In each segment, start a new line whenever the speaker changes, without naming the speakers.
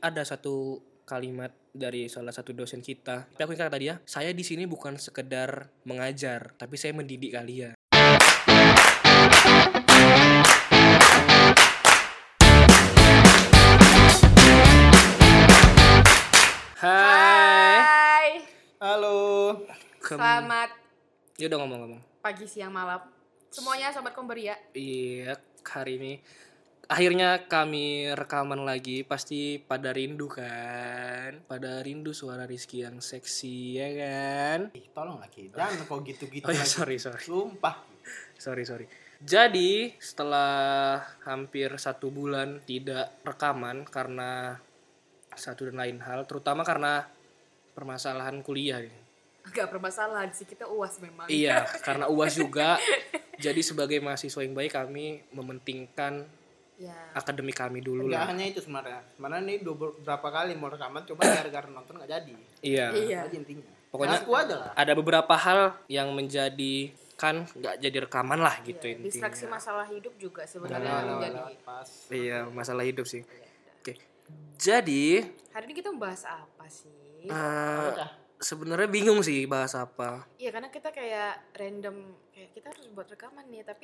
ada satu kalimat dari salah satu dosen kita. Tapi aku ingat kata dia, saya di sini bukan sekedar mengajar, tapi saya mendidik kalian. Hai.
Hai.
Halo.
Kem-
Selamat
Ya udah ngomong-ngomong.
pagi, siang, malam. Semuanya sobat ya. komberia.
Iya, hari ini akhirnya kami rekaman lagi pasti pada rindu kan pada rindu suara Rizky yang seksi ya kan
Ih, tolong lagi. Jangan kok gitu-gitu.
Iya.
oh ya
lagi.
sorry sorry
Sumpah.
sorry sorry jadi setelah hampir satu bulan tidak rekaman karena satu dan lain hal terutama karena permasalahan kuliah ini.
Gak bermasalah sih, kita uas memang.
iya karena uas juga jadi sebagai mahasiswa yang baik kami mementingkan
Ya.
akademik kami dulu
Enggak
lah
hanya itu sebenarnya. Sebenarnya ini dua ber- berapa kali mau rekaman coba gara-gara nonton nggak jadi.
iya
Iya.
Itu aja intinya.
Pokoknya-
Nah, aku aja lah.
ada beberapa hal yang menjadi kan nggak jadi rekaman lah gitu
Iya,
intinya
Distraksi masalah hidup juga sebenarnya
Gara-gara
menjadi.
lewat pas.
iya masalah hidup sih oke jadi
Hari ini kita membahas apa
eh,
sih?
Apa dah?
sebenarnya bingung sih bahas apa
Iya, karena kita kayak random kayak kita harus buat rekaman nih, tapi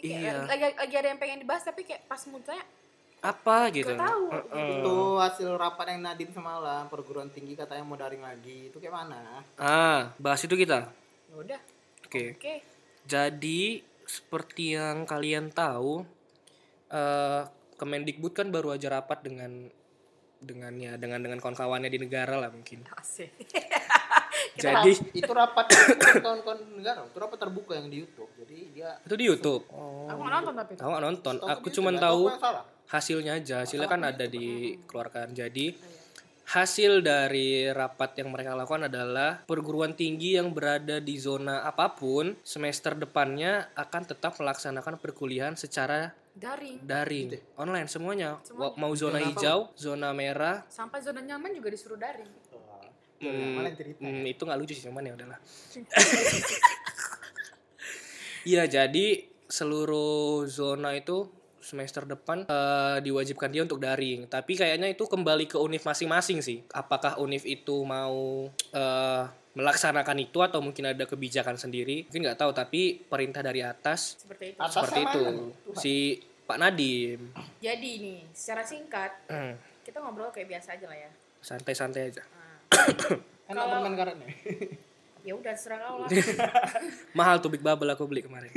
Iya.
kayak lagi, lagi ada yang pengen dibahas tapi kayak pas mulanya
apa gitu
Nggak tahu.
Heeh.
Itu hasil rapat yang Nadiem semalam perguruan tinggi katanya mau daring lagi. Itu kayak mana?
ah bahas itu kita
ya udah.
oke
Oke.
jadi seperti yang kalian tahu eh Kemendikbud kan baru aja rapat dengan dengannya dengan dengan kawan-kawannya di negara lah mungkin
Asik.
jadi
Itu rapat bukan kawan-kawan negara. Itu rapat terbuka yang di YouTube. Jadi dia
itu di YouTube
Aku nggak nonton tapi.
tahu nggak nonton
Setahu
Hmm, aku
di
cuman
YouTube,
tahu
aku yang salah.
hasilnya aja hasilnya kan ada dikeluarkan jadi hasil dari rapat yang mereka lakukan adalah perguruan tinggi yang berada di zona apapun semester depannya akan tetap melaksanakan perkuliahan secara
Daring.
daring online Gitu ya? semuanya Wa- mau zona
Zona apa?
hijau zona merah
Sampai zona nyaman juga disuruh daring.
Oh, yang
Hmm,
mana yang cerita?
hmm, itu nggak lucu sih cuman ya udahlah. Iya jadi seluruh zona itu semester depan eh, diwajibkan dia untuk daring. Tapi kayaknya itu kembali ke univ masing-masing sih. Apakah univ itu mau eh, melaksanakan itu atau mungkin ada kebijakan sendiri? Mungkin nggak tahu. Tapi perintah dari atas
Seperti itu.
Atas
seperti
sama
itu
anak. Tuhan.
si Pak Nadiem
Jadi nih, secara singkat
Hmm,
kita ngobrol kayak biasa aja lah ya.
santai-santai aja.
Nah,
Enak
Kalau-
permen karetnya.
ya udah serah kau lah.
Mahal tuh big bubble aku beli kemarin.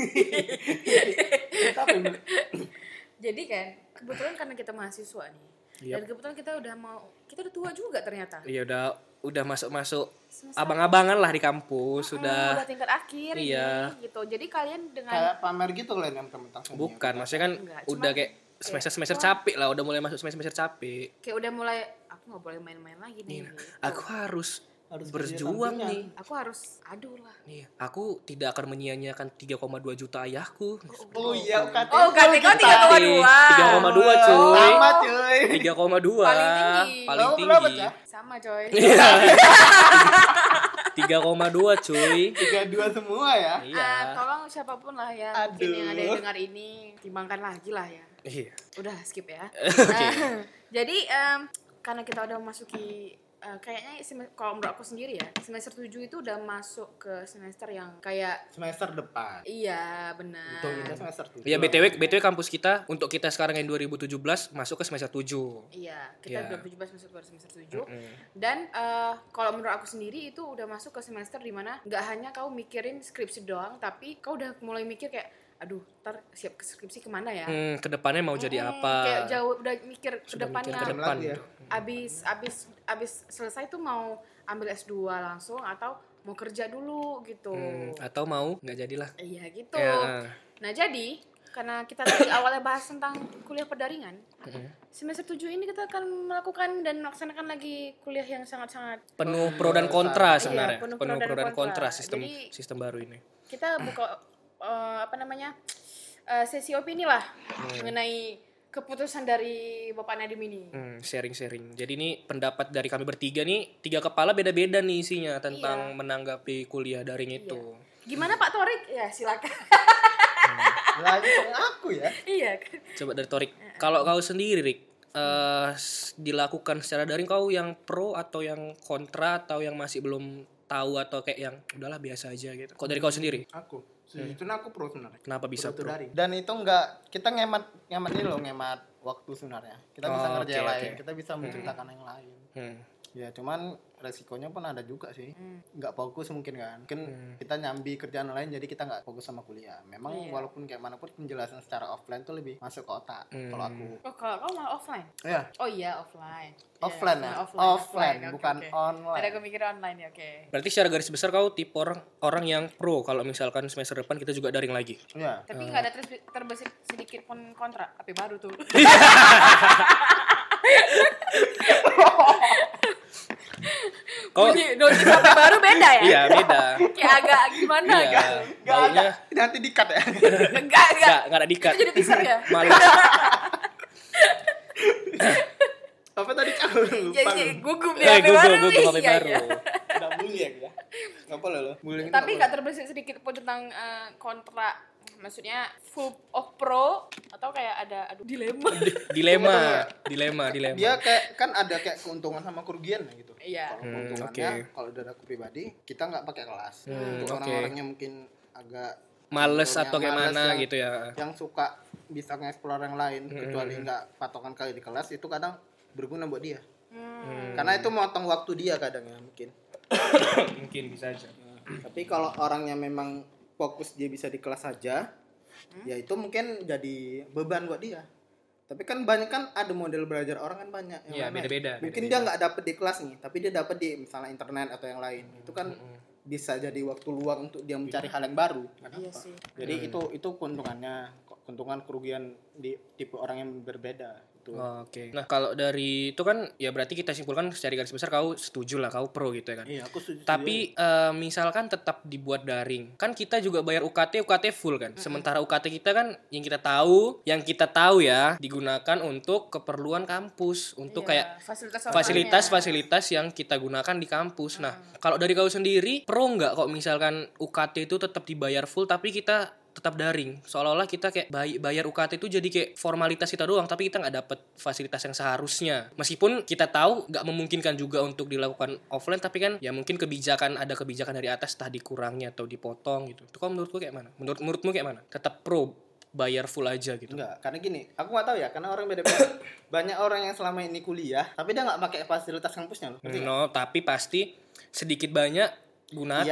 Tapi
Jadi kan kebetulan karena kita mahasiswa nih.
Yap.
Dan kebetulan kita udah mau kita udah tua juga ternyata.
Iya udah udah masuk-masuk
Semester-
abang-abangan lah di kampus
Hmm,
sudah
udah tingkat akhir
Iya.
ini, gitu. Jadi kalian dengan
kayak pamer gitu kalian yang tentang seni.
bukan maksudnya kan
Enggak,
udah
cuman
kayak semester semester capek lah udah mulai masuk semester semester capek
kayak udah mulai aku nggak boleh main-main lagi nih.
Iya.
gitu.
aku harus
Harus
berjuang
kerja
nih
Aku harus aduh lah.
Nih, aku tidak akan menyia-nyiakan 3,2 juta ayahku.
Oh iya, UKT.
Oh, UKT kau
kita.
3,2.
3,2 cuy.
Sama cuy.
3,2.
Paling tinggi.
Paling
Kamu berapa,
tinggi.
Cah?
Sama coy.
Iya. 3,2 cuy.
Tiga dua semua ya.
Ah,
Iya.
tolong siapapun lah ya mungkin yang ada yang
Aduh.
dengar ini timbangkan lagi lah ya.
Iya.
udah skip ya.
Oke.
Nah, jadi em, karena kita udah memasuki eh, kayaknya sem- kalau menurut aku sendiri ya semester 7 itu udah masuk ke semester yang kayak
Semester depan.
iya benar.
Itu kita semester tujuh.
Ya BTW BTW kampus kita untuk kita sekarang yang 2017 masuk ke semester 7.
Iya, kita
Iya.
udah 17 masuk ke semester 7 dan eh, kalau menurut aku sendiri itu udah masuk ke semester dimana nggak hanya kau mikirin skripsi doang tapi kau udah mulai mikir kayak aduh ntar siap ke skripsi kemana ya?
Hmm, kedepannya mau jadi
Mm-mm,
apa?
Kayak jauh udah mikir ke
Sudah mikir
depannya.
ke
Belum
depan.
lagi ya.
gitu.
abis abis abis selesai tuh mau ambil S2 langsung atau mau kerja dulu gitu.
Hmm, atau mau nggak jadilah.
Iya gitu.
Ya,
Nah, jadi karena kita tadi awalnya bahas tentang kuliah perdaringan, semester 7 ini kita akan melakukan dan melaksanakan lagi kuliah yang sangat-sangat
penuh pro dan kontra
Iya,
sebenarnya.
penuh
penuh,
pro dan
pro dan kontra,
kontra.
sistem
Jadi-
sistem baru ini.
kita buka eh, apa namanya? eh, sesi opini lah mengenai keputusan dari Bapak Nadiem ini.
Hmm, sharing-sharing. Jadi ini pendapat dari kami bertiga nih, tiga kepala beda-beda nih isinya
Iya.
tentang menanggapi kuliah daring itu.
Gimana Pak Torik? Ya, silakan.
Langsung aku ya.
iya kan.
ya?
Coba dari Torik. Kalau kau sendiri, Rik, eh, s- dilakukan secara daring kau yang pro atau yang kontra atau yang masih belum tahu atau kayak yang udahlah biasa aja gitu. Kok dari kau sendiri?
Aku.
Hmm.
Sejujurnya aku pro sebenarnya.
Kenapa bisa
Pro itu
pro?
daring.
dan itu enggak kita ngemat ngemat ini loh ngemat waktu sebenarnya kita bisa
Oh,
ngerjain
oke,
lain
oke.
kita bisa menciptakan yang lain
Hmm.
ya cuman resikonya pun ada juga sih
Hmm.
nggak fokus mungkin kan mungkin
Hmm.
kita nyambi kerjaan lain jadi kita nggak fokus sama kuliah memang
Iya.
walaupun kayak mana pun penjelasan secara offline tuh lebih masuk ke otak
Hmm.
kalau aku
Oh, kalau kamu malah offline.
ya
Oh iya, offline. Iya,
offline ya offline,
Oke,
bukan
oke.
online
Ada aku mikir online ya, oke.
Berarti secara garis besar kau tipe orang orang yang pro kalau misalkan semester depan kita juga daring lagi.
ya
Tapi nggak ada terbe- terbesit sedikit pun kontra, tapi baru tuh.
Kau
Bunyi dosis HP baru beda ya?
iya beda.
Kayak agak gimana
Iya.
kan?
Nggak ada.
Baunya
nanti dikat ya
Enggak, enggak.
enggak enggak ada dikat.
Jadi teaser ya?
Malu.
apa tadi aku lupa
Jadi gugup
Eh,
ya,
gue
baru
gue gue
nih.
HP
Iya,
baru.
iya.
nggak bully ya kita nggak boleh loh bullying
Tapi nggak terbesit sedikit pun tentang eh, kontra maksudnya full of pro atau kayak ada aduh dilema
Dilema, dilema, dilema.
dia kayak kan ada kayak keuntungan sama kerugian gitu
Iya.
kalau
Hmm,
keuntungannya
oke.
kalau dari aku pribadi kita nggak pakai kelas
Hmm,
untuk
oke.
orang-orang yang mungkin agak
Males atau
Males
kayak mana
yang-
gitu ya. Hmm.
yang suka bisa nge-explore yang lain kecuali nggak patokan kali di kelas itu kadang berguna buat dia
Hmm.
karena itu motong waktu dia kadang ya mungkin
Mungkin bisa aja.
tapi kalau orangnya memang fokus dia bisa di kelas saja
Hmm?
ya itu mungkin jadi beban buat dia tapi kan banyak kan ada model belajar orang kan banyak yang
Iya,
lain-lain.
beda-beda.
mungkin dia
beda-beda.
nggak dapet di kelas nih tapi dia dapet di misalnya internet atau yang lain itu kan bisa jadi waktu luang untuk dia mencari hal yang baru
Iya sih.
jadi itu itu keuntungannya keuntungan kerugian di tipe orang yang berbeda gitu. itu
Oh, Oke. Nah, kalau dari itu kan ya berarti kita simpulkan secara garis besar kau setuju lah kau pro gitu ya kan.
iya aku setuju
Tapi eh, misalkan tetap dibuat daring, kan kita juga bayar UKT, UKT full kan. Sementara UKT kita kan yang kita tahu, yang kita tahu ya digunakan untuk keperluan kampus, untuk kayak
Iya, fasilitas
fasilitas-fasilitas yang kita gunakan di kampus. Nah, kalau dari kau sendiri, pro nggak kok misalkan UKT itu tetap dibayar full tapi kita tetap daring seolah-olah kita kayak bay- bayar UKT itu jadi kayak formalitas kita doang tapi kita nggak dapet fasilitas yang seharusnya meskipun kita tahu nggak memungkinkan juga untuk dilakukan offline tapi kan ya mungkin kebijakan ada kebijakan dari atas entah dikurangi atau dipotong gitu itu kau menurutku kayak mana menurut menurutmu kayak mana tetap pro bayar full aja gitu
Enggak, karena gini, aku nggak tahu ya, karena orang beda-beda. Banyak orang yang selama ini kuliah, tapi dia nggak pakai fasilitas kampusnya loh. Ngerti nggak?
no tapi pasti sedikit banyak gunakan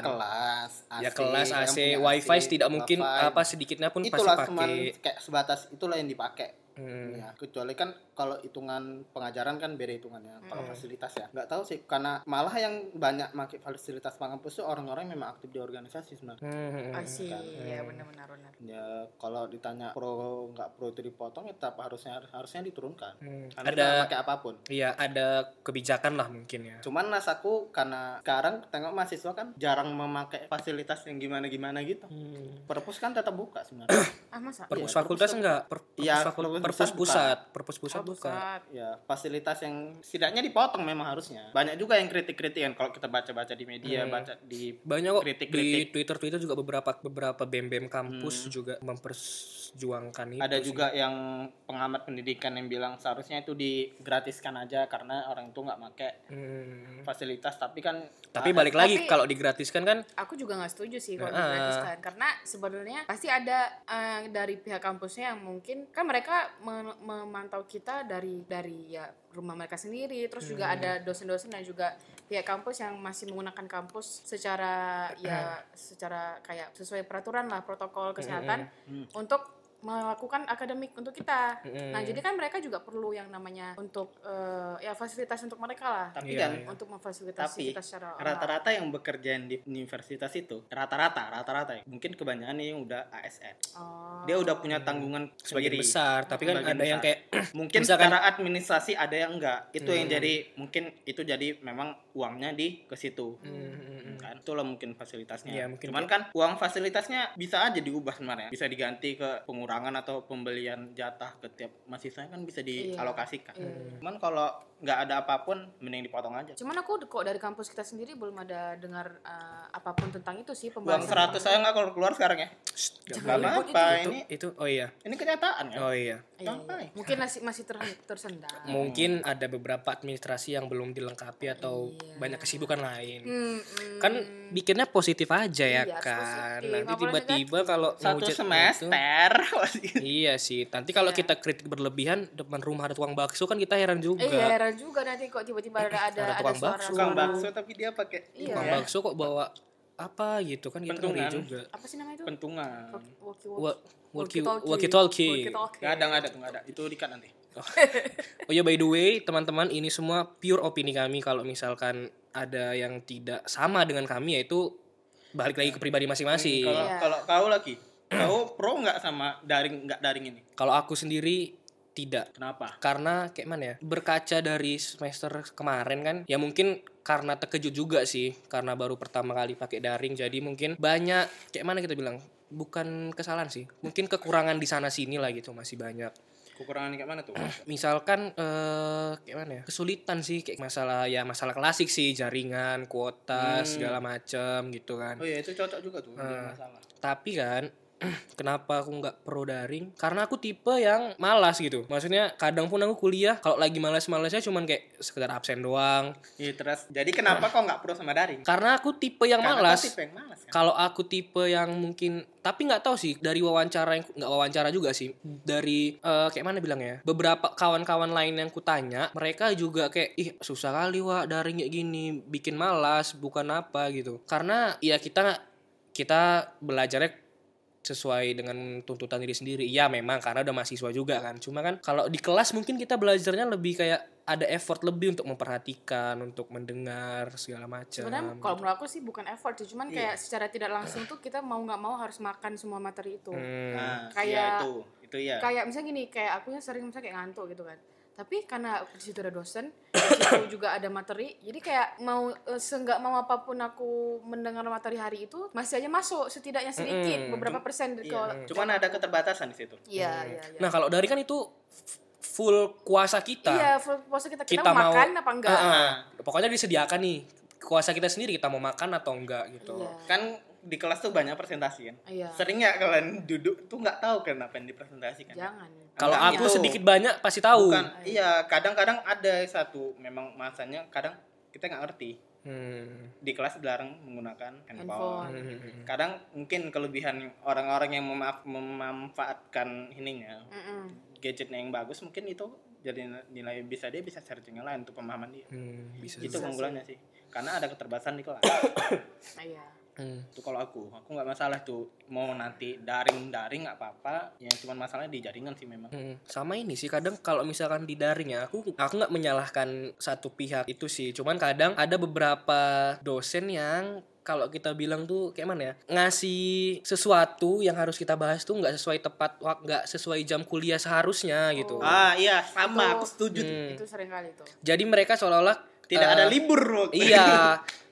Ya kelas, AC,
Hmm, ya kelas
yang
AC,
kan, punya
wifi
AC,
tidak mungkin
wifi.
apa sedikitnya pun
Itulah
pasti
cuman
pakai.
kayak sebatas itulah yang dipakai.
Hmm.
Ya, kecuali kan kalau hitungan pengajaran kan beda hitungannya
Hmm.
kalau fasilitas ya nggak tahu sih karena malah yang banyak pakai fasilitas kampus tuh orang-orang yang memang aktif di organisasi sebenarnya
Hmm.
Asih, ya benar-benar benar.
ya kalau ditanya pro nggak pro itu dipotong ya tetap harusnya harusnya diturunkan
Hmm.
karena
Ada
kita nggak pakai apapun
iya ada kebijakan lah mungkin ya.
Cuman rasaku karena sekarang tengok mahasiswa kan jarang memakai fasilitas yang gimana-gimana gitu. Perpus kan tetap buka sebenarnya.
Ah masa?
Perpus
Iya,
fakultas
perpus-
enggak? Per- perpus,
Iya,
fakul-
perpus
perpus
pusat
pusat, perpus pusat
Oh,
bukan.
pusat.
ya, fasilitas yang setidaknya dipotong memang harusnya. Banyak juga yang kritik-kritik kan kalau kita baca-baca di media,
Hmm.
baca di
Banyak kok di
Kritik-kritik.
Twitter-Twitter juga beberapa beberapa BEM-BEM kampus juga memperjuangkan itu.
Hmm. ada
Gitu sih.
juga yang pengamat pendidikan yang bilang seharusnya itu digratiskan aja karena orang itu nggak pakai
Hmm.
fasilitas tapi kan
Tapi
ada-
balik lagi
Tapi-
kalau digratiskan kan
Aku juga nggak setuju sih kalau
Nah, ah.
digratiskan karena sebenarnya pasti ada eh, dari pihak kampusnya yang mungkin kan mereka me- memantau kita dari dari ya rumah mereka sendiri terus
Hmm.
juga ada dosen-dosen dan juga pihak kampus yang masih menggunakan kampus secara
Hmm.
ya secara kayak sesuai peraturan lah protokol kesehatan
hmm.
untuk melakukan akademik untuk kita.
Hmm.
Nah,
Iya.
jadi kan mereka juga perlu yang namanya untuk eh, ya fasilitas untuk mereka lah.
tapi
Iya,
dan
iya.
untuk memfasilitasi
tapi
kita secara online.
rata-rata yang bekerja di universitas itu rata-rata rata-rata ya. mungkin kebanyakan nih yang udah ASN
Oh.
dia udah punya tanggungan
sebagian
sendiri.
besar, tapi kan
Sebagian
ada yang
besar.
kayak
mungkin
misalkan- Hmm.
secara administrasi ada yang enggak itu yang jadi mungkin itu jadi memang uangnya di ke situ
Hmm, hmm, hmm.
Nah, itulah mungkin fasilitasnya.
Iya, mungkin.
Cuman kan uang fasilitasnya bisa aja diubah sebenarnya. Bisa diganti ke pengurangan atau pembelian jatah ke tiap mahasiswa kan bisa dialokasikan.
Iya.
Cuman kalau nggak ada apapun mending dipotong aja.
Cuman aku kok dari kampus kita sendiri belum ada dengar eh, apapun tentang itu sih
Uang
pembahasan.
100 saya nggak keluar keluar sekarang ya.
Shh,
Nggak
ribut
apa-apa
itu,
ini
itu oh iya
ini kenyataan ya. Hmm.
oh iya
Iya,
Sampai.
iya. Mungkin masih masih ter, tersendat.
mungkin ada beberapa administrasi yang belum dilengkapi atau
Iya.
banyak kesibukan lain
Hmm, hmm.
kan bikinnya positif aja ya
Iya, harus
kan
positif.
nanti
Nggak boleh
tiba-tiba kalau
Satu
ngehujat itu-
semester masih
iya sih nanti kalau
Iya.
kita kritik berlebihan depan rumah ada tukang bakso kan kita heran juga
Eh, iya, heran juga nanti kok tiba-tiba ada ada
Ada
ada
tukang
suara,
bakso.
tukang
suara-
bakso tapi dia pakai
Iya.
tukang bakso kok bawa apa gitu kan kita ngeri
Pentungan.
juga
Apa sih nama itu?
pentungan.
Walkie
Wa- walkie
Walkie-talkie.
walkie talkie
Walkie-talkie.
Nggak ada nggak ada tuh nggak ada. Itu dikat nanti.
oh ya by the way teman-teman ini semua pure opini kami kalau misalkan ada yang tidak sama dengan kami yaitu balik lagi ke pribadi masing-masing
Hmm, Kalau
Iya.
kalau kau lagi, kau pro nggak sama daring nggak daring ini?
kalau aku sendiri tidak
Kenapa?
karena kayak mana ya berkaca dari semester kemarin kan ya mungkin karena terkejut juga sih karena baru pertama kali pakai daring jadi mungkin banyak kayak mana kita bilang bukan kesalahan sih mungkin kekurangan di sana sini lah gitu masih banyak
Kekurangan kayak mana tuh?
misalkan eh kayak mana ya kesulitan sih kayak masalah ya masalah klasik sih jaringan kuota
Hmm.
segala macam gitu kan
Oh iya itu cocok juga tuh. jadi
Hmm.
masalah.
tapi kan kenapa aku nggak pro daring karena aku tipe yang malas gitu maksudnya kadang pun aku kuliah kalau lagi malas-malasnya cuman kayak sekedar absen doang
Iya terus. Jadi kenapa kau nggak pro sama daring?
karena aku tipe yang
Karena
malas
kau tipe yang malas kan.
kalau aku tipe yang mungkin tapi nggak tahu sih dari wawancara yang nggak wawancara juga sih
Hmm.
dari eh, kayak mana bilang ya beberapa kawan-kawan lain yang kutanya mereka juga kayak ih susah kali wa daring kayak gini bikin malas bukan apa gitu karena ya kita kita belajarnya sesuai dengan tuntutan diri sendiri. Iya memang karena udah mahasiswa juga kan. Cuma kan kalau di kelas mungkin kita belajarnya lebih kayak ada effort lebih untuk memperhatikan, untuk mendengar segala macam.
Sebenarnya kalau menurut aku sih bukan effort sih, cuman kayak secara tidak langsung tuh kita mau nggak mau harus makan semua materi itu.
Hmm.
Nah,
Kayak-
iya itu itu ya.
Kayak misalnya gini, kayak aku yang sering misalnya kayak ngantuk gitu kan. Tapi karena di situ ada dosen, di situ juga ada materi, jadi kayak mau eh, seenggak mau apapun aku mendengar materi hari itu masih aja masuk setidaknya sedikit
Mm-mm.
beberapa persen dari
Iya.
kalau-
Cuman ada keterbatasan di situ.
Iya, iya, iya.
Nah kalau dari kan itu f- full kuasa kita.
Iya, full puasa kita kita,
Kita
mau
mau-
makan apa enggak?
Nah,
Heeh. Pokoknya disediakan nih kuasa kita sendiri kita mau makan atau enggak gitu.
Iya.
Kan di kelas tuh banyak presentasi kan.
Iya.
Sering ya kalian duduk tuh nggak tahu kan apa yang dipresentasikan.
Jangan. Iya.
Kalau
Enggak
aku
gitu.
sedikit banyak pasti tahu.
Bukan, iya kadang-kadang ada satu memang masanya kadang kita nggak ngerti
Hmm.
di kelas dilarang menggunakan handphone.
Handphone.
Hmm.
Kadang mungkin kelebihan orang-orang yang mema- memanfaatkan ininya
Mm-mm.
gadgetnya yang bagus mungkin itu jadi nilai bisa dia bisa searching yang lain untuk pemahaman dia.
Hmm, bisa.
itu
Gitu.
sih.
keunggulannya sih. Karena ada keterbatasan di kelas.
Iya.
Hmm.
itu kalau aku, aku nggak masalah tuh mau nanti daring-daring nggak apa-apa. Yang cuman masalahnya di jaringan sih memang.
Hmm. Sama ini sih kadang kalau misalkan di daring ya aku aku nggak menyalahkan satu pihak itu sih. Cuman kadang ada beberapa dosen yang kalau kita bilang tuh kayak mana ya ngasih sesuatu yang harus kita bahas tuh nggak sesuai tepat wak- nggak sesuai jam kuliah seharusnya gitu.
Oh.
Ah gitu. iya sama,
Itu-
aku setuju. tuh.
Hmm.
Itu sering kali tuh.
Jadi mereka seolah-olah
Tidak
eh,
ada libur waktu
Iya.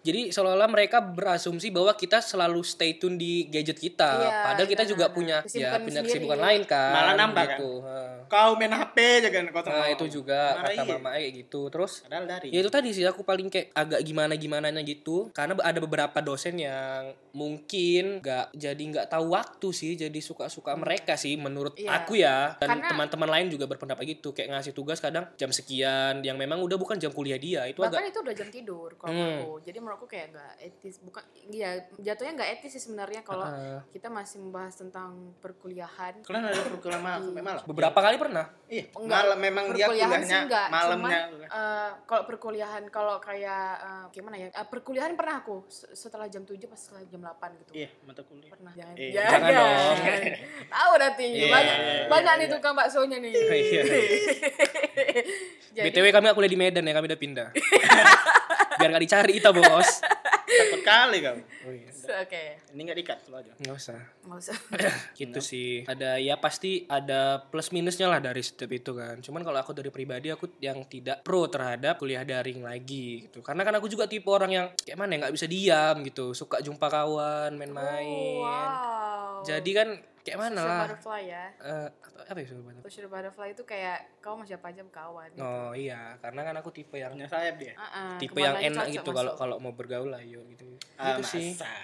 Jadi seolah-olah mereka berasumsi bahwa kita selalu stay tune di gadget kita,
Iya,
padahal kita
iya,
juga
iya.
punya ya
Kesibukan
punya
sendiri.
kesibukan lain kan.
Malah nambah, kan?
gitu. Heeh.
kau main HP aja kan kosong
Nah, itu juga
Marah
kata
iya.
mama kayak gitu. Terus
padahal dari
ya itu tadi sih aku paling kayak agak gimana gimananya gitu karena ada beberapa dosen yang mungkin nggak jadi nggak tahu waktu sih jadi suka-suka mereka sih menurut
Hmm. Iya.
aku ya dan
Karena-
teman-teman lain juga berpendapat gitu kayak ngasih tugas kadang jam sekian yang memang udah bukan jam kuliah dia itu agak
Bahkan itu udah jam tidur kalau
Hmm.
menurut aku. Jadi menurut aku kayak nggak etis, bukan ya jatuhnya nggak etis sih sebenarnya kalau
Heeh.
kita masih membahas tentang perkuliahan.
kalian ada program malam sampai malam
beberapa kali pernah
iya
Enggak,
malam memang dia
perkuliahan sih
kuliahnya
enggak,
malamnya
Eh, kalau perkuliahan kalau kayak eh, gimana ya? Eh, perkuliahan pernah aku se- setelah jam 7 pas setelah jam 8 gitu.
iya mata kuliah
Pernah. Jangan.
Eh,
jangan dong.
Tahu nanti
Iya,
banyak
iya,
banyak nih tukang baksonya nih.
Iya.
Jadi-
BTW kami nggak kuliah di Medan ya, kami udah pindah. Biar gak dicari kita bos.
takut kali kamu.
Oh iya.
Oke,
Ini nggak dikat lo aja.
Nggak usah.
nggak usah.
Gitu sih. Ada ya pasti ada plus minusnya lah dari setiap itu kan. Cuman kalau aku dari pribadi aku yang tidak pro terhadap kuliah daring lagi gitu. Karena kan aku juga tipe orang yang kayak mana ya nggak bisa diam gitu. Suka jumpa kawan, main-main.
Oh, wow.
Jadi kan kayak mana
Social
lah.
butterfly ya.
Eh, apa, apa ya sebenarnya?
Social butterfly itu kayak kau sama siapa aja berkawan. Gitu.
Oh iya, karena kan aku tipe yang
Punya sayap dia.
Ah-ah,
tipe yang
kemananya
enak
Nah, cocok
gitu
masuk.
kalau kalau mau bergaul ayo gitu.
Ah,
Gitu sih.
masa.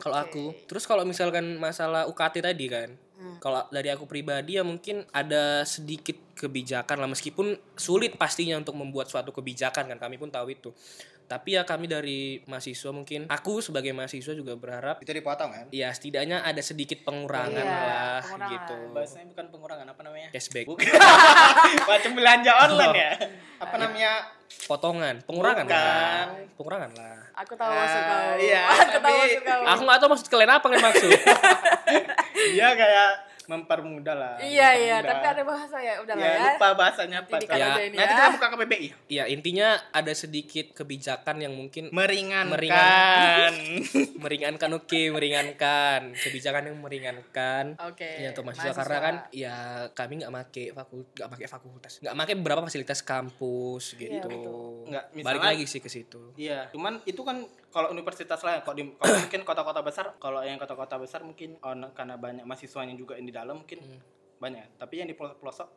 Kalau
Oke.
aku, terus kalau misalkan masalah UKT tadi kan,
Hmm.
kalau dari aku pribadi ya mungkin ada sedikit kebijakan lah meskipun sulit pastinya untuk membuat suatu kebijakan kan kami pun tahu itu. Tapi ya kami dari mahasiswa mungkin aku sebagai mahasiswa juga berharap
Itu dipotong kan?
ya setidaknya ada sedikit pengurangan
Iya,
lah
pengurangan.
gitu.
Bahasanya bukan pengurangan apa namanya?
Cashback,
Bukan. Macam belanja online ya. Apa namanya?
potongan, pengurangan
Bukan.
lah. Pengurangan lah.
Aku tahu maksud
Ah,
kau.
iya,
aku tahu
tapi-
maksud kau. Iya,
Aku nggak tahu maksud kalian apa kalian maksud.
Iya kayak mempermudah lah.
Iya iya,
mempermudah.
tapi ada bahasa ya, udah lah
Iya,
ya,
ya.
lupa bahasanya apa.
Nanti dikata
Ya,
aja ini
Nanti
ya.
kita buka ke PBI.
ya intinya ada sedikit kebijakan yang mungkin
Meringankan.
meringankan oke meringankan kebijakan yang meringankan
Oke.
ya untuk mahasiswa, karena kan ya kami nggak make fakultas nggak make fakultas nggak make beberapa fasilitas kampus gitu
Iya, betul.
Nggak, misalnya-
balik lagi sih ke situ
Iya, cuman itu kan kalau universitas lah, kalau di- kalau mungkin kota-kota besar, kalau yang kota-kota besar mungkin oh, nah, karena banyak mahasiswanya juga yang di dalam mungkin
Hmm.
banyak. Tapi yang di pelosok, pelosok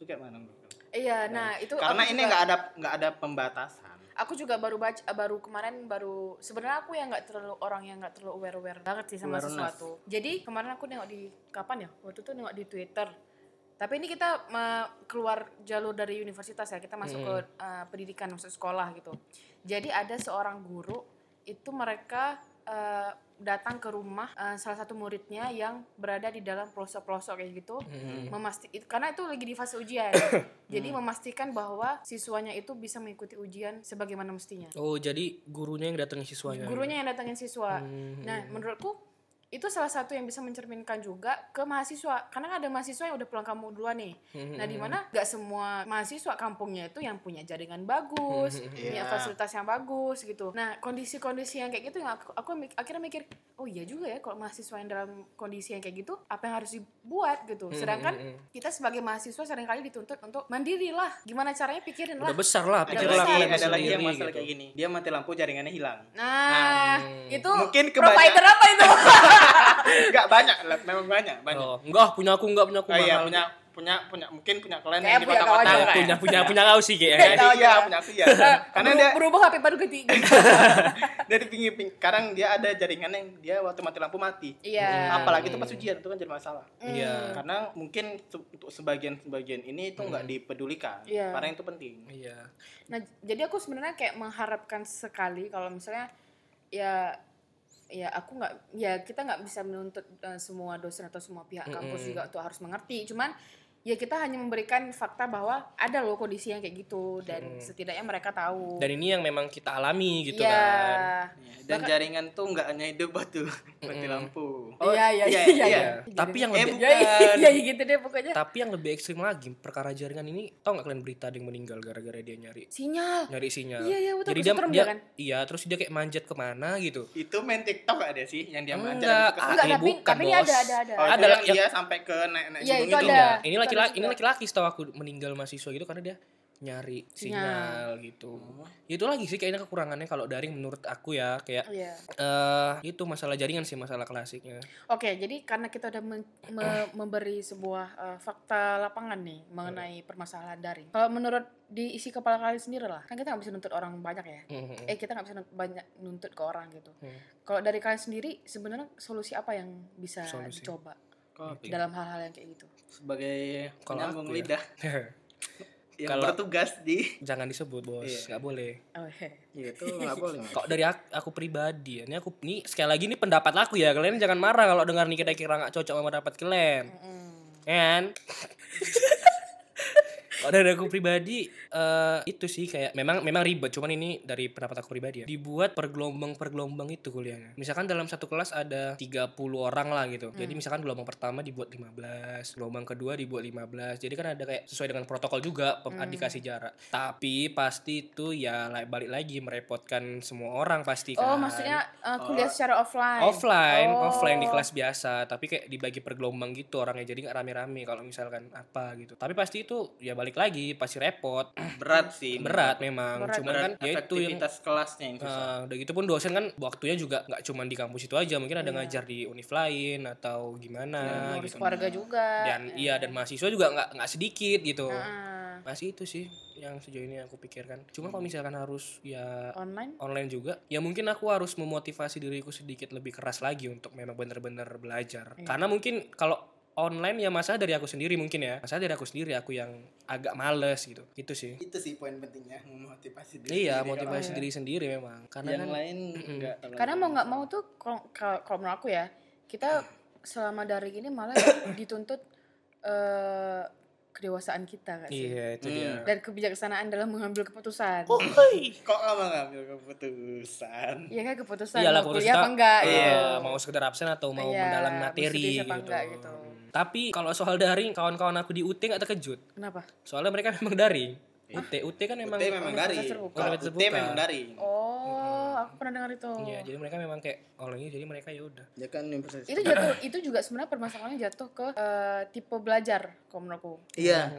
itu kayak mana? menurut kamu?
Iya, nah itu
Karena
aku
ini
juga-
nggak ada nggak ada pembatasan.
aku juga baru baca baru kemarin baru sebenarnya aku yang nggak terlalu orang yang nggak terlalu aware aware banget sih sama
Awareness.
sesuatu jadi kemarin aku nengok di kapan ya waktu itu nengok di twitter tapi ini kita eh, keluar jalur dari universitas ya kita masuk ke eh, pendidikan masuk sekolah gitu jadi ada seorang guru itu mereka eh, datang ke rumah eh, salah satu muridnya yang berada di dalam pelosok pelosok kayak gitu
Iya.
memasti itu karena itu lagi di fase ujian. Jadi memastikan bahwa siswanya itu bisa mengikuti ujian sebagaimana mestinya.
oh jadi gurunya yang datangin siswanya
Gurunya yang datangin siswa.
Oh, iya, Hmm.
Nah, menurutku itu salah satu yang bisa mencerminkan juga ke mahasiswa. Karena kan ada mahasiswa yang udah pulang kampung duluan nih. Nah, di mana gak semua mahasiswa kampungnya itu yang punya jaringan bagus, punya
Iya.
fasilitas yang bagus gitu. Nah, kondisi-kondisi yang kayak gitu yang aku, aku mik- akhirnya mikir, oh iya juga ya kalau mahasiswa yang dalam kondisi yang kayak gitu, apa yang harus dibuat gitu. Sedangkan kita sebagai mahasiswa seringkali dituntut untuk mandirilah gimana caranya pikirin lah
udah besar lah
Ada
pikirlah
lagi,
kalian
ada lagi
sendiri
yang masalah
gitu.
kayak gini. Dia mati lampu jaringannya hilang.
nah itu
Mungkin kebanyakan-
provider apa itu
Nggak banyak, lah, memang banyak, banyak.
oh, enggak punya aku enggak punya aku
Ah, iya,
mahal. Nah,
punya punya punya mungkin punya klien
Kayak
yang di
punya kawan
kota-kota
juga.
lah ya.
punya punya punya kau sih kan?
Iya,
kayaknya
Tahu
iya,
juga.
punya aku iya. Karena
karena
dia
berubah HP baru ketiga
dari pinggir ping- kadang dia ada jaringan yang dia waktu mati lampu mati. Hmm.
iya Hmm.
Apalagi itu pas ujian itu kan jadi masalah.
Mm.
iya
karena mungkin se- untuk sebagian-sebagian ini itu nggak dipedulikan
Iya.
karena itu penting
Hmm. iya
nah j- jadi aku sebenarnya kayak mengharapkan sekali kalau misalnya ya ya aku nggak ya kita nggak bisa menuntut eh, semua dosen atau semua pihak kampus juga untuk harus mengerti cuman ya kita hanya memberikan fakta bahwa ada loh kondisi yang kayak gitu dan setidaknya mereka tahu
dan ini yang memang kita alami gitu
Iya.
kan
dan jaringan tuh nggak hanya hidup batu
Hmm.
mati lampu Oh,
Iya, iya, iya, iya.
tapi yang
Eh,
lebih
ya
Bukan.
iya gitu deh pokoknya
Tapi yang lebih ekstrim lagi perkara jaringan ini, tau nggak kalian berita ada yang meninggal gara-gara dia nyari
sinyal
nyari sinyal.
Iya, iya,
Jadi
betul. Aku
dia,
setrum
dia
dia kan.
iya terus dia kayak manjat kemana gitu.
itu main tiktok ada sih yang dia main
Enggak, ah,
jalan
enggak
ini
tapi
bukan,
tapi ini ada
Bos.
ada ada
Oh,
Ada
ada yang
yang-
dia sampai ke naik-naik
Iya,
gunung
itu
itu.
ada.
Iya, ini
itu
laki-laki
ada
ini
juga.
laki-laki setahu aku meninggal mahasiswa gitu karena dia nyari sinyal gitu. Ya, Itu lagi sih kayaknya kekurangannya kalau daring menurut aku ya kayak
Iya.
eh itu masalah jaringan sih masalah klasiknya.
Oke, jadi karena kita udah men- me- memberi sebuah eh, fakta lapangan nih mengenai permasalahan daring. Kalau menurut di isi kepala kalian sendiri lah, kan kita nggak bisa nuntut orang banyak ya.
Mhm.
Eh kita nggak bisa nuntut banyak nuntut ke orang gitu.
Hmm.
Kalau dari kalian sendiri sebenarnya solusi apa yang bisa
Solusi. Iya.
dicoba
Kok
dalam hal-hal yang kayak gitu?
sebagai
Kalau
penyambung
aku ya.
lidah yang
Kalau-
bertugas di
Jangan disebut bos,
Iya.
nggak boleh.
Oh, iya.
itu nggak boleh
Kok dari aku, aku pribadi, ya, ini aku ini sekali lagi ini pendapat aku ya kalian jangan marah kalau dengar nih kira-kira nggak cocok sama pendapat kalian.
Mm.
kan Ya Kalau dari aku pribadi eh, itu sih kayak memang memang ribet cuman ini dari pendapat aku pribadi ya. Dibuat per gelombang per gelombang itu kuliahnya. Misalkan dalam satu kelas ada 30 orang lah gitu. Jadi
Hmm.
misalkan gelombang pertama dibuat 15, gelombang kedua dibuat 15. Jadi kan ada kayak sesuai dengan protokol juga pem-
Hmm.
dikasih jarak. Tapi pasti itu ya la- balik lagi merepotkan semua orang pasti kan.
Oh, maksudnya eh, kuliah secara offline.
offline
Oh.
offline di kelas biasa tapi kayak dibagi per gelombang gitu orangnya jadi nggak rame-rame kalau misalkan apa gitu tapi pasti itu ya balik lagi pasti repot
berat sih
berat memang
Iya. Berat.
cuman kan ya itu yang
efektivitas kelasnya yang susah.
eh, udah gitu pun dosen kan waktunya juga nggak cuman di kampus itu aja mungkin ada ngajar di univ lain atau gimana
Iya. Ngurus
gitu
keluarga juga.
dan iya dan mahasiswa juga nggak nggak sedikit gitu
Heeh.
masih itu sih yang sejauh ini aku pikirkan cuma
Hmm.
kalau misalkan harus ya
online.
online juga ya mungkin aku harus memotivasi diriku sedikit lebih keras lagi untuk memang benar-benar belajar karena mungkin kalau online ya masalah dari aku sendiri mungkin ya masalah dari aku sendiri aku yang agak males gitu gitu sih
itu sih poin pentingnya memotivasi diri
iya
sendiri
motivasi
orang.
diri sendiri memang karena
yang
kan
lain enggak terlalu
Karena mau nggak mau tuh kalau kalau- kalau menurut aku ya, kita
Hmm.
selama daring ini malah dituntut eh kedewasaan kita kan sih.
iya itu dia
Dan kebijaksanaan dalam mengambil keputusan.
Oh, hei, kok kamu ngambil keputusan?
Iya kan keputusan
Iyalah,
mau
keputusan
kuliah apa
tak-
enggak
Iya,
gitu.
mau sekedar absen atau mau
Iya,
mendalam
mau
materi
serius
gitu.
apa enggak gitu.
Hmm. Tapi kalau soal daring, kawan-kawan aku di UT nggak terkejut.
Kenapa?
Soalnya mereka memang daring. UT, UT kan memang
UT memang
Universitas
dari.
terbuka.
Kalau
Universitas
UT
terbuka.
memang dari.
Oh, aku pernah dengar itu.
Hmm. Iya, jadi mereka memang kayak online jadi mereka ya udah.
ya kan universitas
iya.
Itu jatuh itu juga sebenarnya permasalahannya jatuh ke eh, tipe belajar kalau menurut aku.
iya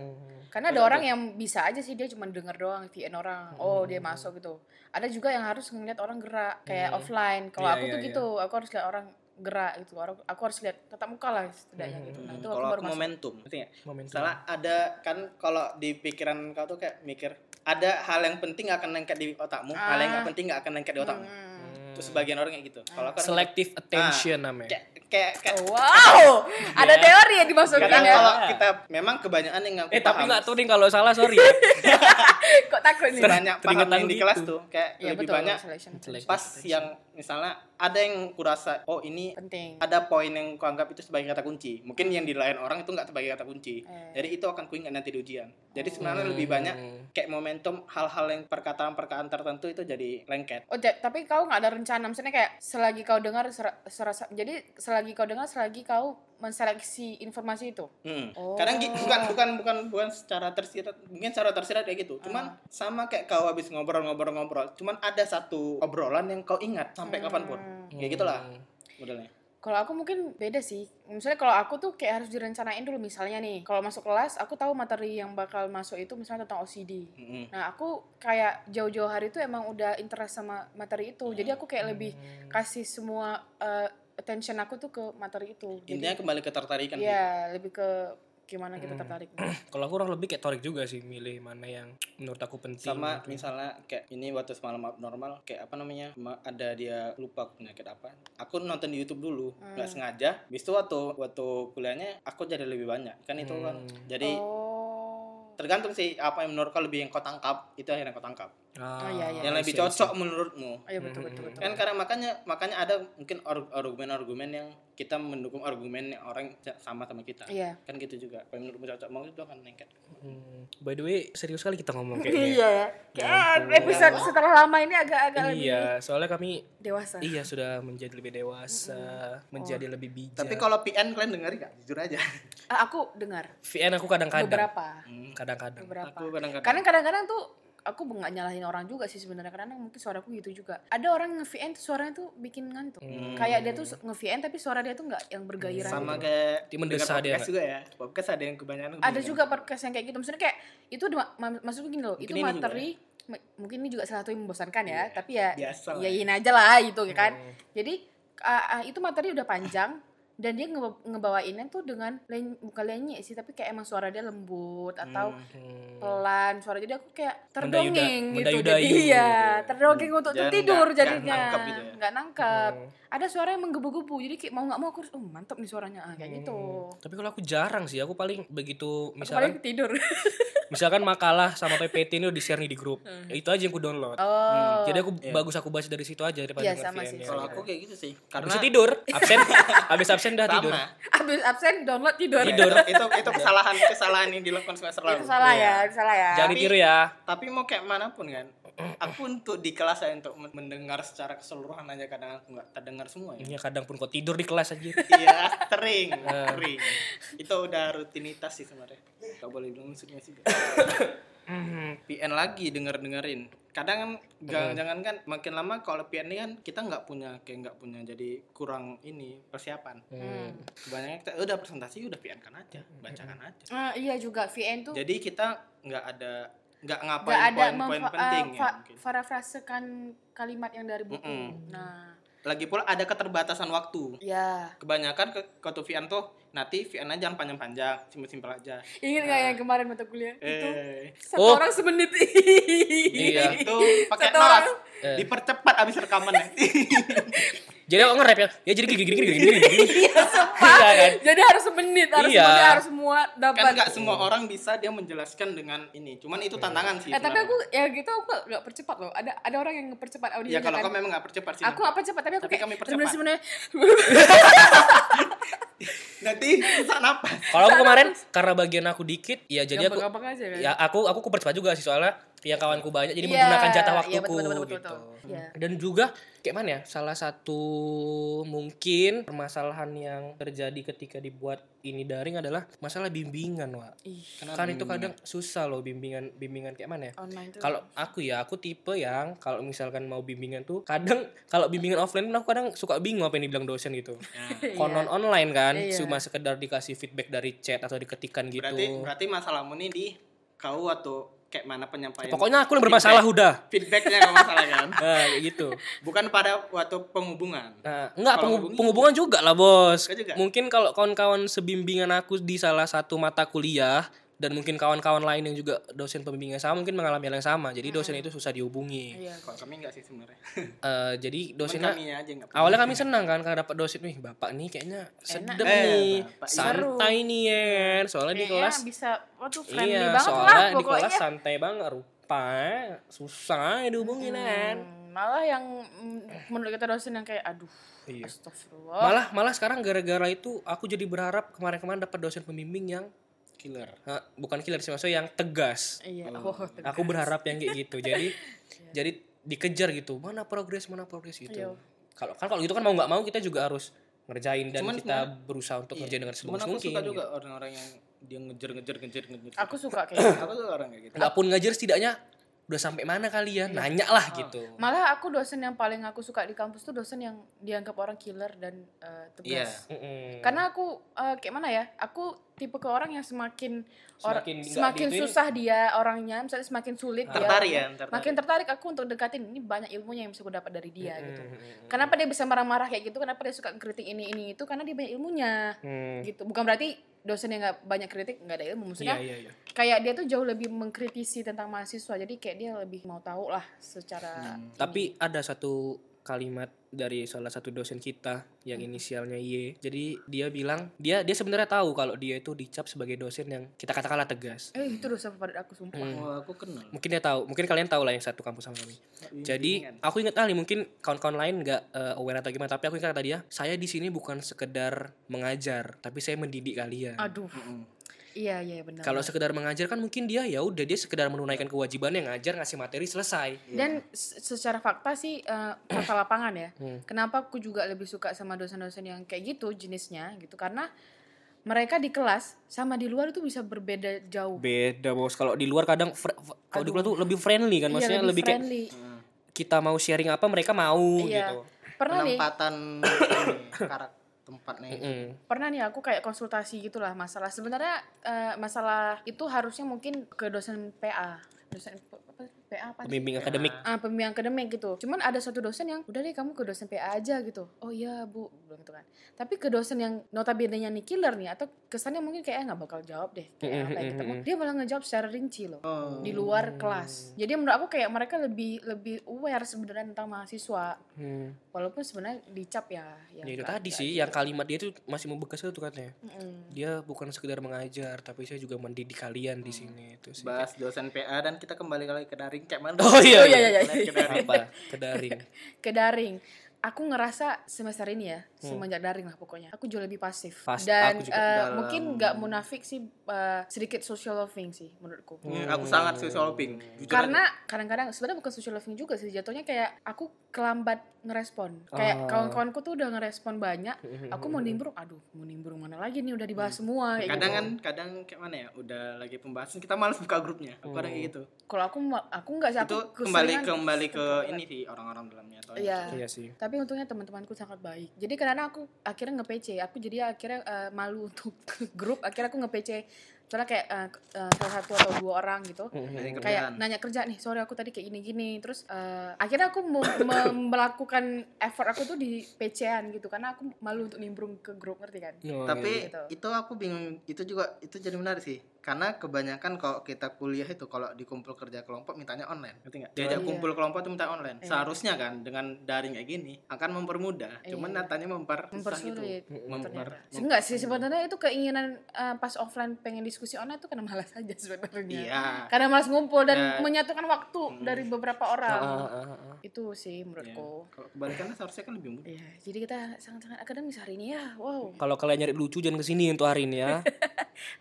Karena ada orang yang bisa aja sih dia cuma denger doang VN orang. Oh, dia
Hmm.
masuk gitu. Ada juga yang harus ngeliat orang gerak kayak offline. Kalau
Iya,
aku
iya,
tuh
iya.
gitu, aku harus lihat orang gerak gitu. Orang- Aku harus lihat tatap muka lah setidaknya gitu. Nah, itu aku
Hmm, Kalau
baru
aku
masuk.
momentum, ngerti nggak?
Momentum.
Salah ada kan kalau di pikiran kau tuh kayak mikir ada hal yang penting nggak akan lengket di otakmu, hal yang
Ah.
nggak penting nggak akan lengket di otakmu.
Hmm.
Terus sebagian orang kayak gitu. Kalau aku kan
Selective attention namanya.
kayak kayak, kayak-
Oh, Wow, ada teori yang dimasukin
Iya. kadang
ya.
kalau kita memang kebanyakan yang nggak
Iya. Eh tapi
paham,
nggak tahu nih kalau salah sorry. ya.
Kok takut nih?
banyak paham
Teringetan
yang
gitu.
di
Iya,
kelas tuh kayak
Iya
lebih
betul.
banyak
selection.
Selective
pas
attention.
yang misalnya ada yang kurasa oh ini
Penting.
ada poin yang kuanggap itu sebagai kata kunci. Mungkin yang di lain orang itu nggak sebagai kata kunci.
Eh.
Jadi itu akan kuingat nanti di ujian. Jadi sebenarnya
Hmm.
lebih banyak kayak momentum hal-hal yang perkataan-perkataan tertentu itu jadi lengket.
Oh, ja- tapi kau nggak ada rencana maksudnya kayak selagi kau dengar ser- serasa jadi selagi kau dengar selagi kau menseleksi informasi itu.
Hmm.
Oh.
Kadang gi- bukan bukan bukan bukan secara tersirat, mungkin secara tersirat kayak gitu. Cuman
Ah.
sama kayak kau habis ngobrol-ngobrol-ngobrol, cuman ada satu obrolan yang kau ingat sampai
Hmm.
kapanpun.
Hmm.
Kayak gitulah modelnya.
Kalau aku mungkin beda sih. Misalnya kalau aku tuh kayak harus direncanain dulu misalnya nih. Kalau masuk kelas aku tahu materi yang bakal masuk itu misalnya tentang OCD.
Mm-mm.
Nah, aku kayak jauh-jauh hari itu emang udah interest sama materi itu. Jadi aku kayak lebih
Hmm.
kasih semua eh, attention aku tuh ke materi itu.
Intinya
Jadi
kembali ketertarikan. sih.
Iya, lebih ke gimana kita tertarik.
Kalau aku kurang lebih kayak Torik juga sih milih mana yang menurut aku penting. gitu.
sama misalnya kayak ini waktu semalam abnormal kayak apa namanya ma- ada dia lupa penyakit apa aku nonton di YouTube dulu
Hmm.
nggak sengaja bis itu waktu waktu kuliahnya aku jadi lebih banyak kan itu kan
Hmm.
jadi
Oh.
tergantung sih apa yang menurut kau lebih yang kau tangkap itu akhirnya kau tangkap
Ah,
Oh, iya, iya.
yang
I
lebih
see, I see.
cocok menurutmu
Iya, betul betul betul.
kan karena makanya makanya ada mungkin ar- argumen-argumen yang kita mendukung argumen yang orang sama sama kita
Iya.
kan gitu juga kalau menurutmu cocok mau itu akan lengket
Hmm. By the way, serius sekali kita ngomong kayaknya.
Iya ya. Kan, episode setelah lama ini agak-agak lebih
Iya, soalnya kami
dewasa.
iya sudah menjadi lebih
Hmm.
dewasa, menjadi
Oh.
lebih
Iya.
bijak.
tapi kalau PN kalian dengerin nggak jujur aja
Ah, aku dengar
VN aku kadang-kadang,
beberapa,
kadang-kadang.
beberapa.
aku kadang-kadang
Hmm, Karena kadang-kadang tuh aku nggak nyalahin orang juga sih sebenarnya karena mungkin suaraku gitu juga. Ada orang nge-VN tuh suaranya tuh bikin ngantuk.
Hmm.
Kayak dia tuh nge-VN tapi suara dia tuh nggak yang bergairah.
Hmm, sama
gitu.
kayak
Dia mendesah
dengar
dia
podcast juga ya podcast ada yang kebanyakan
Ada juga podcast yang kayak gitu. Maksudnya kayak itu ada ma- ma- maksudku gini loh, itu
ini juga ya. Iya.
materi ma- mungkin ini juga salah satu yang membosankan ya, tapi ya
biasa lah Hmm.
iyain aja lah gitu kan. Jadi ah, ah, itu materi udah panjang dan dia ngeba- ngebawainnya tuh dengan len- bukan lenyek sih tapi kayak emang suara dia lembut atau
Hmm.
pelan suara jadi aku kayak terdongeng
Mendayuda-
gitu jadi
mendayu
iya
gitu ya.
terdongeng untuk
Jangan-
tidur
nggak-
jadinya
nggak nangkep gitu ya.
nggak nangkep ada suara yang menggebu-gebu jadi kayak mau nggak mau aku harus oh mantap
Hmm.
nih suaranya ah, kayak gitu
Tapi kalau aku jarang sih, aku paling begitu
aku
Mm.
paling
misalkan
tidur
misalkan makalah sama PPT ini udah di share nih di grup itu aja yang aku download
Hmm. Oh.
jadi aku
Iya.
bagus aku baca dari situ aja daripada
Iya,
dengar
sama sih.
VN-nya.
Kalau aku kayak gitu sih. Karena
Habis itu tidur, absen, habis absen udah tidur.
sama.
Abis absen download tidur.
Ya,
Tidur.
itu, itu itu kesalahan kesalahan yang dilakukan semester lalu.
Iya. Itu salah
Iya.
ya, itu salah ya.
Jangan
Tapi-
ditiru ya.
Tapi mau kayak manapun kan, aku untuk di kelas ya untuk men- mendengar secara keseluruhan aja kadang aku nggak terdengar semua ya.
Iya kadang pun kok tidur di kelas aja.
Iya, sering, sering. Itu udah rutinitas sih sebenarnya. Gak boleh bilang musuhnya sih. Mhm.
Hmm.
PN lagi denger dengerin. Kadang kan jangan jangan kan makin lama kalau PN ini kan kita nggak punya kayak nggak punya jadi kurang ini persiapan.
Hmm. Mm.
Kebanyakan kita udah presentasi udah PN kan aja, bacakan aja.
Eh, iya juga VN tuh
Jadi kita nggak ada nggak
nggak
ngapain
ada
poin-poin
memfa-
penting
eh,
ya.
fa-
mungkin.
parafrasekan kalimat yang dari buku.
Mm-mm.
Nah,
Lagi pula ada keterbatasan waktu.
ya.
Kebanyakan ke ke Vian tuh nanti Vian aja jangan panjang-panjang, simpel-simpel aja.
Ingat
Nah.
nggak yang kemarin mata kuliah? Itu
Eh,
satu
Oh.
orang semenit.
Iya.
itu pakai
Satu
noras.
orang.
Eh.
Dipercepat abis rekamannya.
Jadi aku nge-rap ya. Ya jadi gini gini gini gini gini.
Iya, sumpah.
Iya kan?
Jadi harus semenit, harus
Iya.
semuanya harus semua
kan
dapat.
nggak semua orang bisa dia menjelaskan dengan ini. Cuman
Iya.
itu tantangan
Eh,
sih.
tapi
sebenarnya.
aku ya gitu aku nggak- nggak percepat loh. Ada ada orang yang percepat audionya.
ya kalau
kan?
kamu memang nggak percepat sih.
aku apa cepat tapi aku
Tapi kami percepat.
sebenarnya sebenarnya
nanti sesak napas.
Kalau aku kemarin karena bagian aku dikit, ya jadi aku
gampang-gampang aja kan.
ya aku aku kupercepat juga sih soalnya yang kawanku banyak jadi
Iya,
menggunakan jatah
iya,
waktuku
betul, betul, betul,
gitu.
betul. Iya.
Dan juga kayak mana ya? Salah satu mungkin permasalahan yang terjadi ketika dibuat ini daring adalah masalah bimbingan, Wak.
Ih,
Kan itu kadang susah loh bimbingan bimbingan kayak mana ya?
online tuh.
Kalau aku ya, aku tipe yang kalau misalkan mau bimbingan tuh kadang kalau bimbingan offline pun aku kadang suka bingung apa yang dibilang dosen gitu. Konon online kan
Iya.
cuma sekedar dikasih feedback dari chat atau diketikan gitu.
Berarti berarti masalahmu nih di kau atau kayak mana penyampaian?
Pokoknya aku yang bermasalah udah.
feedbacknya kalau masalah kan.
Nah, kayak gitu.
Bukan pada waktu penghubungan.
Nah, enggak
Kalau
penghu-
hubungi-
penghubungan juga lah, Bos.
Enggak juga.
Mungkin kalau kawan-kawan sebimbingan aku di salah satu mata kuliah dan mungkin kawan-kawan lain yang juga dosen pembimbingan sama mungkin mengalami hal yang sama. Jadi dosen itu susah dihubungi.
Iya.
Kalau kami enggak sih sebenarnya.
Eh, jadi
Cuman
dosennya
kami aja enggak.
Awalnya kami senang kan karena dapat dosen nih bapak nih kayaknya sedap
Eh,
nih,
bapak, iya.
santai nih ya. Soalnya di
Kayaknya
kelas
bisa waduh Iya, friendly
iya,
banget lah
soalnya di kelas
pokoknya.
santai banget rupa susah dihubungin kan.
Hmm, malah yang mm, menurut kita dosen yang kayak aduh
Iya.
astagfirullah.
Malah malah sekarang gara-gara itu aku jadi berharap kemarin-kemarin dapat dosen pembimbing yang
killer.
eh, bukan killer sih maksudnya yang tegas.
Iya. Oh, tegas.
Aku berharap yang kayak gitu. Jadi jadi dikejar gitu. Mana progres, mana progres
Iya.
gitu. Kalau kan kalau gitu kan mau nggak mau kita juga harus ngerjain dan
Cuman iya.
kita berusaha untuk ngerjain dengan
Cuman
sebagus
aku
mungkin.
suka
gitu.
juga orang-orang yang dia ngejar ngejar ngejar ngejar.
Aku suka kayak gitu.
aku tuh orang kayak gitu.
nggak pun ngajar setidaknya udah sampai mana kali ya
Iya.
nanya lah
Ah.
gitu
Malah aku dosen yang paling aku suka di kampus tuh dosen yang dianggap orang killer dan eh,
Iya.
tegas.
Mm-mm.
Karena aku eh, kayak mana ya? Aku tipe ke orang yang semakin or-
Semakin nggak
semakin
dituin.
susah dia orangnya, misalnya semakin sulit dia.
Tertarik ya, tertarik.
Makin tertarik aku untuk dekatin ini banyak ilmunya yang bisa aku dapat dari dia gitu.
Mm-mm.
Kenapa dia bisa marah-marah kayak gitu? Kenapa dia suka kritik ini ini itu? Karena dia banyak ilmunya
Hmm.
gitu. Bukan berarti dosen yang nggak banyak kritik nggak ada
iya
ilmu maksudnya.
iya iya
Kayak dia tuh jauh lebih mengkritisi tentang mahasiswa. Jadi kayak dia lebih mau tahu lah secara
Mm. tapi ada satu kalimat dari salah satu dosen kita yang inisialnya Y. Jadi dia bilang dia dia sebenarnya tahu kalau dia itu dicap sebagai dosen yang kita katakanlah tegas.
eh itu dosa favorit aku sumpah.
Hmm.
Oh, aku kenal.
Mungkin dia tahu, mungkin kalian tahu lah yang satu kampus sama kami. Jadi
kan.
aku ingat kali mungkin kawan-kawan lain nggak eh, aware atau gimana, tapi aku ingat tadi ya, saya di sini bukan sekedar mengajar, tapi saya mendidik kalian.
Aduh. Iya iya benar.
Hmm. Kalau sekedar mengajar kan mungkin dia ya udah dia sekedar menunaikan kewajibannya ngajar ngasih materi selesai.
Dan se- secara fakta sih eh, fakta lapangan ya.
Hmm.
Kenapa aku juga lebih suka sama dosen-dosen yang kayak gitu jenisnya gitu karena mereka di kelas sama di luar itu bisa berbeda jauh.
Beda bos kalau di luar kadang fr- f- kalau di luar tuh lebih friendly kan
Iya,
maksudnya lebih, kayak
friendly.
kita mau sharing apa mereka mau
Iya.
gitu.
Pernah nih,
penempatan karakter tempatnya.
Mm.
pernah nih aku kayak konsultasi gitulah masalah sebenarnya eh, masalah itu harusnya mungkin ke dosen PA, dosen apa? PA apa sih?
pembimbing akademik
Iya.
ah pembimbing akademik gitu cuman ada satu dosen yang udah deh kamu ke dosen PA aja gitu oh iya bu bilang gitu kan tapi ke dosen yang notabene-nya nih killer nih atau kesannya mungkin kayak "Ah, nggak bakal jawab deh kayak apa ya," gitu dia malah ngejawab secara rinci loh di luar kelas jadi menurut aku kayak mereka lebih lebih aware sebenarnya tentang mahasiswa
Hmm.
walaupun sebenarnya dicap ya
ya
ya,
itu
nggak-
tadi
nggak
sih
gitu.
yang kalimat dia tuh masih membekas tuh katanya
Mm-mm.
dia bukan sekedar mengajar tapi saya juga mendidik kalian di sini itu sih
bahas dosen PA dan kita kembali lagi ke daring kayak mana
Oh, iya,
iya, iya,
Kembali ke
iya.
daring.
apa ke daring
ke daring. Aku ngerasa semester ini ya,
Hmm.
semenjak daring lah pokoknya. Aku jauh lebih pasif.
Pas-
Dan
aku juga
eh,
dalam-
mungkin nggak munafik sih, eh, sedikit social loving sih menurutku.
Hmm, aku sangat social pink jujur
Karena kadang-kadang sebenarnya bukan social loving juga sih, jatuhnya kayak aku kelambat ngerespon.
Ah.
Kayak kawan-kawanku tuh udah ngerespon banyak. Aku mau nimbrung, aduh mau nimbrung mana lagi nih udah dibahas semua.
aja.
Kayak
Hmm. kadang
gitu.
kan kadang kayak mana ya udah lagi pembahasan kita malas buka grupnya aku kadang kayak gitu
Kalau aku ma- aku nggak sih.
itu
Aku
kembali
keseringan-
kembali ke ini sih orang-orang oh, dalamnya atau
Hmm. Iya.
iya sih
tapi untungnya teman-temanku sangat baik jadi karena aku akhirnya nge-PC aku jadi akhirnya eh, malu untuk ke grup akhirnya aku nge-PC soalnya kayak eh, ke- eh, salah satu atau dua orang gitu
dari
kayak
kerjaan
nanya kerja nih sorry aku tadi kayak gini-gini terus eh, akhirnya aku mau me- melakukan effort aku tuh di PC-an gitu karena aku malu untuk nimbrung ke grup ngerti kan
Oh, iya.
tapi
Gitu.
itu aku bingung itu juga itu jadi menarik sih karena kebanyakan kalau kita kuliah itu kalau dikumpul kerja kelompok mintanya online ngerti nggak diajak
Iya.
kumpul kelompok itu minta online
Iya.
seharusnya kan dengan daring kayak gini akan mempermudah cuman
Iya.
nyatanya memper
mempersulit
itu
ternyata.
memper
Se- enggak sih sebenarnya itu keinginan eh, pas offline pengen diskusi online itu karena malas aja sebenarnya
iya
karena malas ngumpul dan
Ya.
menyatukan waktu dari beberapa orang
Ah, ah, ah, ah.
itu sih menurutku
kalau kebalikannya seharusnya kan lebih mudah
Iya, jadi kita sangat-sangat akademis hari ini ya wow
kalau kalian nyari lucu jangan kesini untuk hari ini ya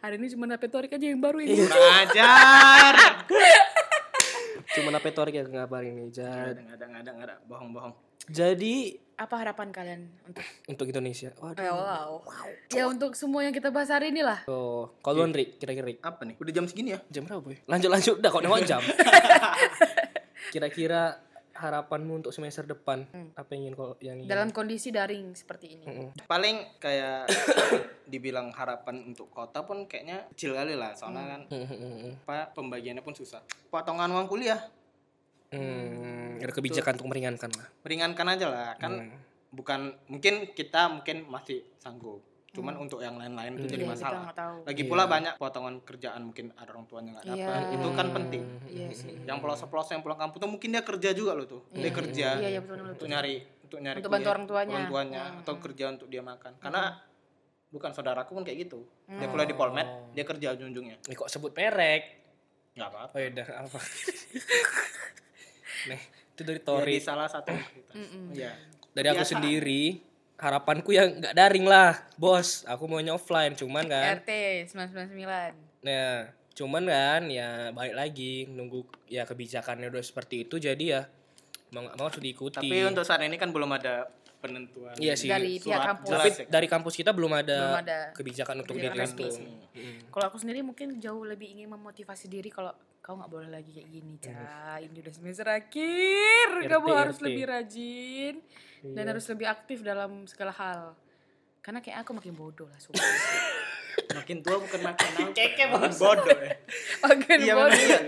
hari ini cuma retorik aja yang baru ini
kurang ajar
cuma apa itu ya ngabarin nih
nggak
Ja-
ada nggak ada nggak ada nggak ada bohong bohong
jadi
apa harapan kalian untuk
untuk Indonesia waduh
Eh, wow. ya untuk semua yang kita bahas hari ini lah
Oh, kalau lu, Andri, kira-kira Rik?
apa nih udah jam segini ya
jam berapa boy? Lanjut lanjut udah kok nengok jam. kira-kira harapanmu untuk semester depan
Hmm.
apa yang ingin kalau yang ingin? Hmm.
dalam kondisi daring seperti ini
paling kayak dibilang harapan untuk kota pun kayaknya kecil kali lah soalnya kan
Hmm,
apa pembagiannya pun susah potongan uang kuliah
ada kebijakan untuk meringankan lah. Hmm.
meringankan aja lah kan bukan mungkin kita mungkin masih sanggup cuman untuk yang lain-lain itu jadi
Iya, kita
masalah
nggak tahu
lagi pula banyak potongan kerjaan mungkin ada orang tuanya nggak dapat
Iya.
itu kan penting
iya sih
yang pelosok-pelosok yang pulang kampung tuh mungkin dia kerja juga loh tuh dia kerja
iya iya betul
untuk
betul
nyari untuk nyari
Untuk bantu
kuliah,
orang tuanya. Hmm.
atau kerja untuk dia makan karena bukan saudaraku pun kayak gitu
Hmm.
dia kuliah di Polmed dia kerja ujung-ujungnya
Nih Eh, kok sebut merek?
Oh. nggak apa-apa
Oh ya udah apa? Nih, itu dari
Jadi
Tori.
salah satu kita
Hmm,
ya
Dari aku sendiri, harapanku yang nggak daring lah, bos. Aku maunya offline, cuman kan
RT 999
Nah, cuman kan ya balik lagi nunggu ya kebijakannya udah seperti itu jadi ya mau nggak mau harus diikuti.
tapi untuk saat ini kan belum ada penentuan
Iya sih.
dari pihak
Surat
kampus
jelas.
Tapi dari kampus kita belum
Ya.
ada,
Belum ada
kebijakan untuk
kebijakan
deadline itu.
resmi. Kalau aku sendiri mungkin jauh lebih ingin memotivasi diri kalau kau nggak boleh lagi kayak gini, Ca. Ini udah semester akhir,
Ngerti,
kamu harus
ngerti. Iya.
lebih rajin dan harus lebih aktif dalam segala hal. Karena kayak aku makin bodoh lah, sumpah.
makin tua bukan makin keke bodoh ya.
makin
iya
bodoh.
memang iya.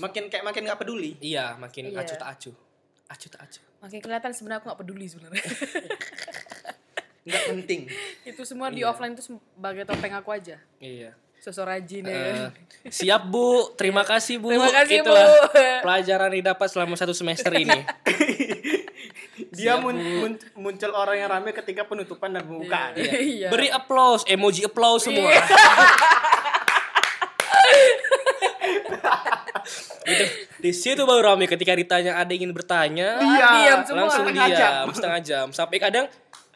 makin kayak makin nggak peduli
Iya, makin
Iya.
acuh tak acuh. Acuh tak acuh.
Makin kelihatan sebenarnya aku nggak peduli sebenarnya.
nggak penting
itu semua di offline itu sebagai topeng aku aja.
Iya.
Sosok rajin
Eh,
ya.
siap Bu, terima kasih Bu.
Terima kasih, Bu.
pelajaran didapat selama satu semester ini.
dia mun- mun- muncul orang yang rame ketika penutupan dan pembukaan
Iya.
Beri applause, emoji applause semua. Itu, di situ baru rame ketika ditanya ada yang ingin bertanya,
Diam, diam semua.
Iya.
Iya.
langsung
Setengah
diam
jam.
setengah jam. Sampai kadang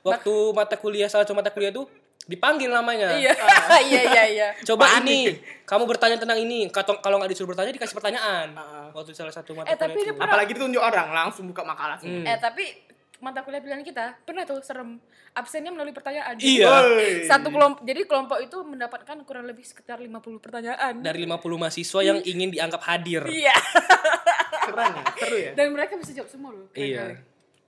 waktu mata kuliah salah satu mata kuliah tuh dipanggil namanya.
Iya, iya, iya, iya.
Coba ini, kamu bertanya tentang ini. Kato- Kalau nggak disuruh bertanya dikasih pertanyaan. Waktu salah satu mata
Ah, Eh, tapi
kuliah.
dia
tuh.
pernah-
apalagi tunjuk orang langsung buka makalah semua
Hmm.
Eh tapi mata kuliah pilihan kita pernah tuh serem absennya melalui pertanyaan.
Iya.
Woi.
Satu kelompok jadi kelompok itu mendapatkan kurang lebih sekitar 50 pertanyaan.
dari 50 mahasiswa yang ingin dianggap hadir.
Iya.
keren ya seru ya
Dan mereka bisa jawab semua loh.
Iya.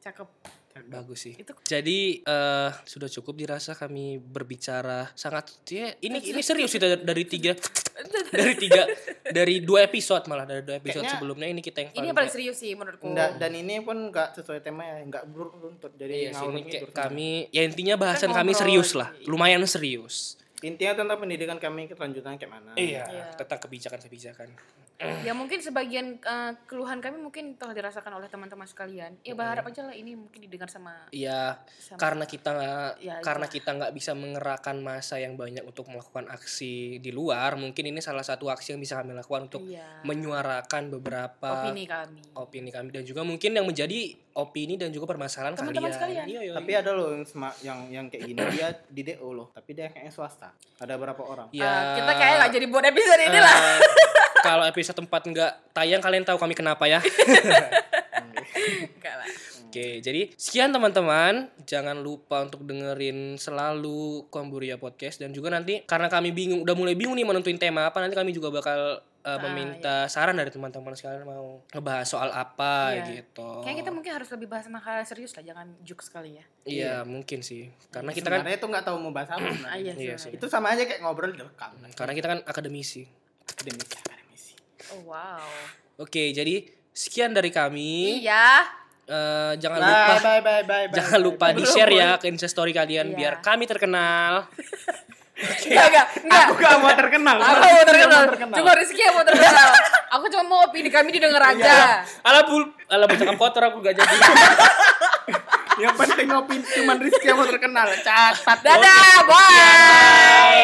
Cakep.
Bagus sih. Jadi eh, sudah cukup dirasa kami berbicara sangat ya, ini ini serius kita dari tiga dari tiga dari dua episode malah dari dua episode
Kayaknya-
sebelumnya ini kita yang
Ini yang
paling
paling serius sih menurutku.
Nggak, dan ini pun nggak sesuai tema ya nggak beruntut jadi
Oh. Iya sih,
ngawur
ini kayak
ngidul.
kami ya intinya bahasan
Kita
kami
ngobrol.
serius lah, lumayan serius.
intinya tentang pendidikan kami kelanjutannya kayak mana
Iya.
tentang kebijakan-kebijakan.
Ya mungkin sebagian eh, keluhan kami mungkin telah dirasakan oleh teman-teman sekalian.
Hmm.
Ya berharap aja lah ini mungkin didengar sama
Iya,
sama
karena kita nggak
Ya,
karena kita nggak bisa mengerahkan masa yang banyak untuk melakukan aksi di luar, mungkin ini salah satu aksi yang bisa kami lakukan untuk
iya,
menyuarakan beberapa
opini kami.
opini kami dan juga mungkin yang menjadi opini dan juga permasalahan
Teman-teman
kalian.
sekalian.
Iya, iya,
tapi
iya.
ada loh yang sema- yang yang kayak gini dia di DO loh tapi dia kayaknya swasta ada berapa orang
Ya,
Eh, kita kayaknya nggak jadi buat episode ini lah.
eh, kalau episode tempat nggak tayang kalian tahu kami kenapa ya.
Nggak lah.
Oke, jadi sekian teman-teman. Jangan lupa untuk dengerin selalu Komburia Podcast dan juga nanti karena kami bingung udah mulai bingung nih menentuin tema apa, nanti kami juga bakal uh, meminta saran dari teman-teman sekalian mau ngebahas soal apa
Iya.
gitu.
Kayaknya kita mungkin harus lebih bahas hal serius lah, jangan juk sekali ya.
Iya, mungkin sih. Karena kita kan
sebenarnya itu nggak tahu mau bahas apa
Ah,
sebenarnya.
iya,
Iya
sebenarnya.
itu sama aja kayak ngobrol direkam
karena kita kan akademisi.
demi akademisi
Oh wow.
Oke, jadi sekian dari kami.
Iya.
Eh, jangan lupa
bye bye bye bye bye,
jangan
bye,
lupa
bye.
di share ya ke instastory kalian
Iya.
biar kami terkenal.
Enggak, enggak, enggak.
aku gak mau terkenal
Aku
Aku
mau
nggak
terkenal.
mau
Cuma Rizky yang mau terkenal. aku cuma mau opini kami didengar aja.
Alah bul, alah bocah kotor aku gak jadi.
Iya. yang penting opini cuman Rizky yang mau terkenal catat
Dadah, bye.